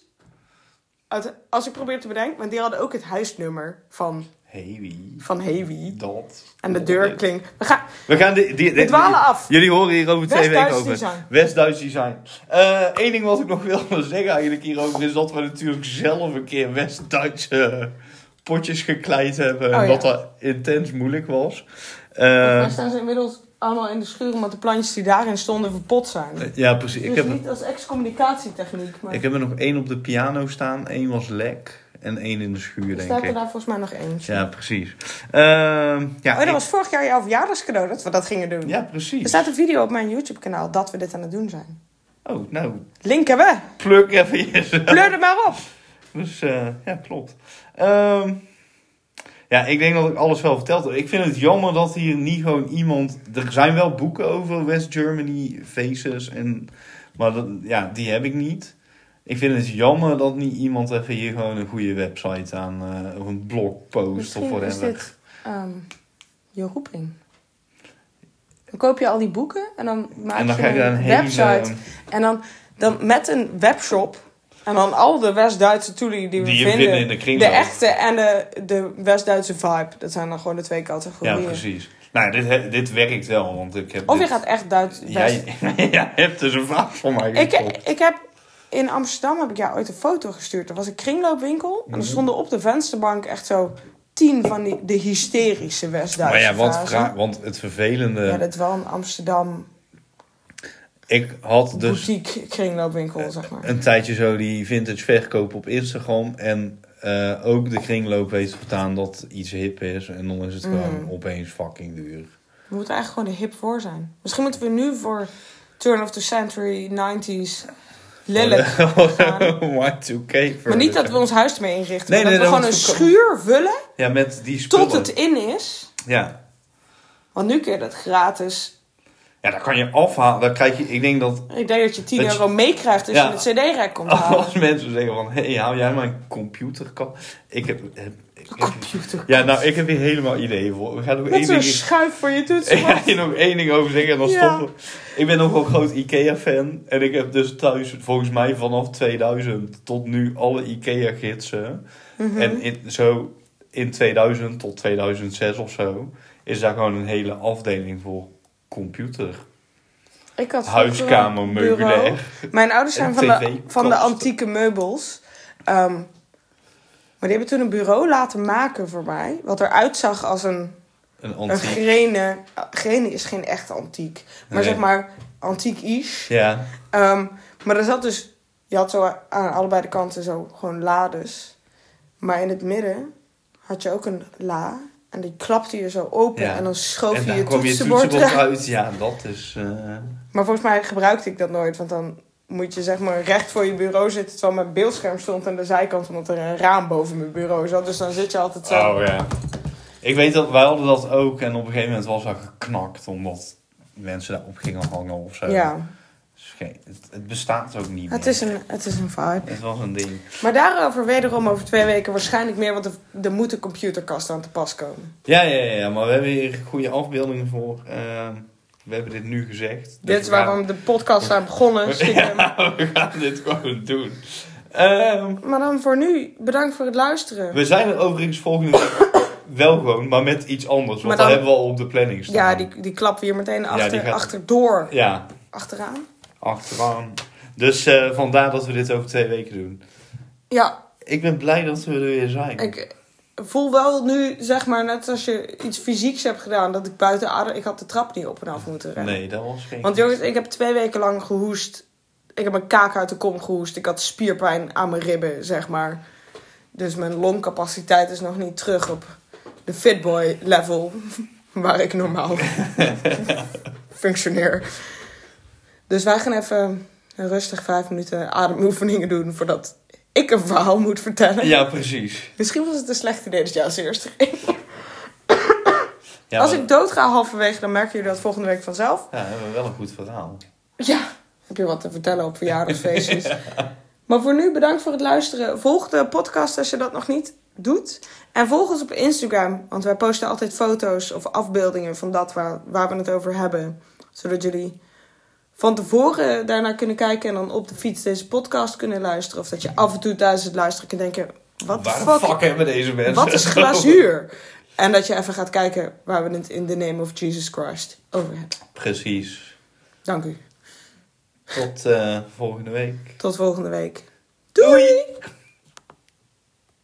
uit- als ik probeer te bedenken, want die hadden ook het huisnummer van, Heavy. van Heavy. Dat. Eh. En de deur klinkt. We gaan, We gaan de, die, die- die- dwalen af. Jullie horen hier over twee West-Duits weken over. design. West-Duits design. Eh Eén ding wat ik nog wil zeggen eigenlijk hierover is dat we natuurlijk zelf een keer West-Duitse potjes gekleid hebben. Oh, en ja. dat dat intens moeilijk was. Eh, daar staan ze inmiddels allemaal in de schuur, omdat de plantjes die daarin stonden verpot zijn. ja, precies. dus Ik heb, niet als excommunicatietechniek, maar ik heb er nog één op de piano staan. Één was lek. En één in de schuur, er denk staat er ik. daar volgens mij nog eentje. Ja, precies. Ehm, ja, Oh, dat ik- was vorig jaar jouw verjaardagscadeau dat we dat gingen doen. ja, Er precies. staat een video op mijn YouTube-kanaal dat we dit aan het doen zijn. Oh, nou, Link hebben we! pluk even jezelf. Pleur er maar op! Dus eh, ja, klopt. Ehm, ja, ik denk dat ik alles wel verteld heb. Ik vind het jammer dat hier niet gewoon iemand. Er zijn wel boeken over West Germany faces en. Maar dat, ja, die heb ik niet. Ik vind het jammer dat niet iemand even hier gewoon een goede website aan. eh, of een blogpost of Misschien whatever. is dit ehm, je roeping. Dan koop je al die boeken en dan maak en dan je ga ik daar een een website. hele. En dan, dan met een webshop. En dan al de West-Duitse toelie die we Die je vinden. vinden in de de kringloop. echte en de, de West-Duitse vibe. Dat zijn dan gewoon de twee Ja, categorieën. precies. Nou, dit, he- dit werkt wel, want ik heb. of je dit- gaat echt Duits. West- Jij, jij hebt dus een vraag voor mij. ik, gekocht. ik heb in Amsterdam heb ik jou ooit een foto gestuurd. Er was een kringloopwinkel. Mhm. En er stonden op de vensterbank echt zo tien van die, de hysterische West-Duitse Maar ja, want, vazen. vra- want het vervelende. Ja, dat is wel een Amsterdam Ik had dus boutique kringloopwinkel, zeg maar. een tijdje zo die vintage verkoop op Instagram. En eh, ook de kringloop weet vertaan dat iets hip is. En dan is het Mm. gewoon opeens fucking duur. We moeten eigenlijk gewoon de hip voor zijn. Misschien moeten we nu voor turn of the century, 90s, lelijk gaan. Y2K. Maar niet dat we ons huis ermee inrichten. Nee, maar dat nee, we gewoon dat een moet voorkomen. schuur vullen Ja, met die spullen. tot het in is. Ja. Want nu kun je dat gratis. ja, daar kan je afhalen. Dan krijg je, ik denk dat Ik denk dat je 10 Dat je- euro meekrijgt als Ja. Oh. je het cd-rek komt halen. als mensen zeggen van... Hé, hey, hou jij mijn computerkast? Ik heb... heb- ik heb- Computer. ja, nou, ik heb hier helemaal ideeën voor. We gaan nog één Met ding... zo'n schuif voor je toets. Ik ga hier nog één ding over zeggen en dan Ja. stoppen we. Ik ben nogal groot IKEA-fan. En ik heb dus thuis, volgens mij vanaf 2000 tot nu, alle IKEA-gidsen. Mhm. En in, zo in 2000 tot 2006 of zo, is daar gewoon een hele afdeling voor computer. Ik had vroeger Huiskamermeubilair. een bureau. Mijn ouders zijn En van de, TV-kasten. van de antieke meubels. Ehm, maar die hebben toen een bureau laten maken voor mij. Wat eruit zag als een, Een een antiek. grene. Grene is geen echt antiek. Maar Nee. zeg maar antiek-ish. Ja, Ehm, maar er zat dus... Je had zo aan allebei de kanten zo gewoon lades. Maar in het midden had je ook een la. En die klapte je zo open. Ja. En dan schoof en je daar je kwam je toetsenbord toetsenbord eruit. uit. Ja, dat is... eh, Maar volgens mij gebruikte ik dat nooit, want dan moet je zeg maar recht voor je bureau zitten terwijl mijn beeldscherm stond aan de zijkant omdat er een raam boven mijn bureau zat. Dus dan zit je altijd zo. Oh ja. Ik weet dat wij hadden dat ook en op een gegeven moment was dat geknakt omdat mensen daar op gingen hangen of zo. ja, Het is geen- Het, het bestaat ook niet het meer. is, een, het is een vibe. Het was een ding. Maar daarover wederom over twee weken waarschijnlijk meer, want er, er moet een computerkast aan te pas komen. Ja, ja, ja, ja, maar we hebben hier goede afbeeldingen voor. Ehm, we hebben dit nu gezegd. Dus Dit is we gaan- waarom de podcast aan begonnen. stiekem. Ja, we gaan dit gewoon doen. Ehm, Maar dan voor nu, bedankt voor het luisteren. we zijn er overigens volgende week wel gewoon, maar met iets anders. Want Maar dat dan- hebben we al op de planning staan. Ja, die, die klappen hier meteen achter, die gaat- achterdoor. Ja, achteraan. Achteraan. Dus eh, vandaar dat we dit over twee weken doen. Ja, Ik ben blij dat we er weer zijn. ik voel wel nu, zeg maar, net als je iets fysieks hebt gedaan, dat ik buiten adem... Ik had de trap niet op en af moeten rennen. Nee, dat was geen... Want jongens, ik heb twee weken lang gehoest. Ik heb mijn kaak uit de kom gehoest. Ik had spierpijn aan mijn ribben, zeg maar. Dus mijn longcapaciteit is nog niet terug op de fitboy level. Waar ik normaal functioneer. Dus wij gaan even rustig vijf minuten ademoefeningen doen voordat ik een verhaal moet vertellen. Ja, precies. Misschien was het een slecht idee dat jij als eerste ging. Ja, Als maar- ik dood ga halverwege, dan merken jullie dat volgende week vanzelf. Ja, we hebben wel een goed verhaal. Ja, heb je wat te vertellen op verjaardagsfeestjes. Maar voor nu bedankt voor het luisteren. Volg de podcast als je dat nog niet doet. En volg ons op Instagram, want wij posten altijd foto's of afbeeldingen van dat waar, waar we het over hebben. Zodat jullie van tevoren daarnaar kunnen kijken en dan op de fiets deze podcast kunnen luisteren. Of dat je af en toe tijdens het luisteren kunt denken, wat de Waar de fuck, fuck hebben deze mensen? wat is glazuur? En dat je even gaat kijken waar we het in the name of Jesus Christ over hebben. Precies. Dank u. Tot eh, volgende week. Tot volgende week. Doei!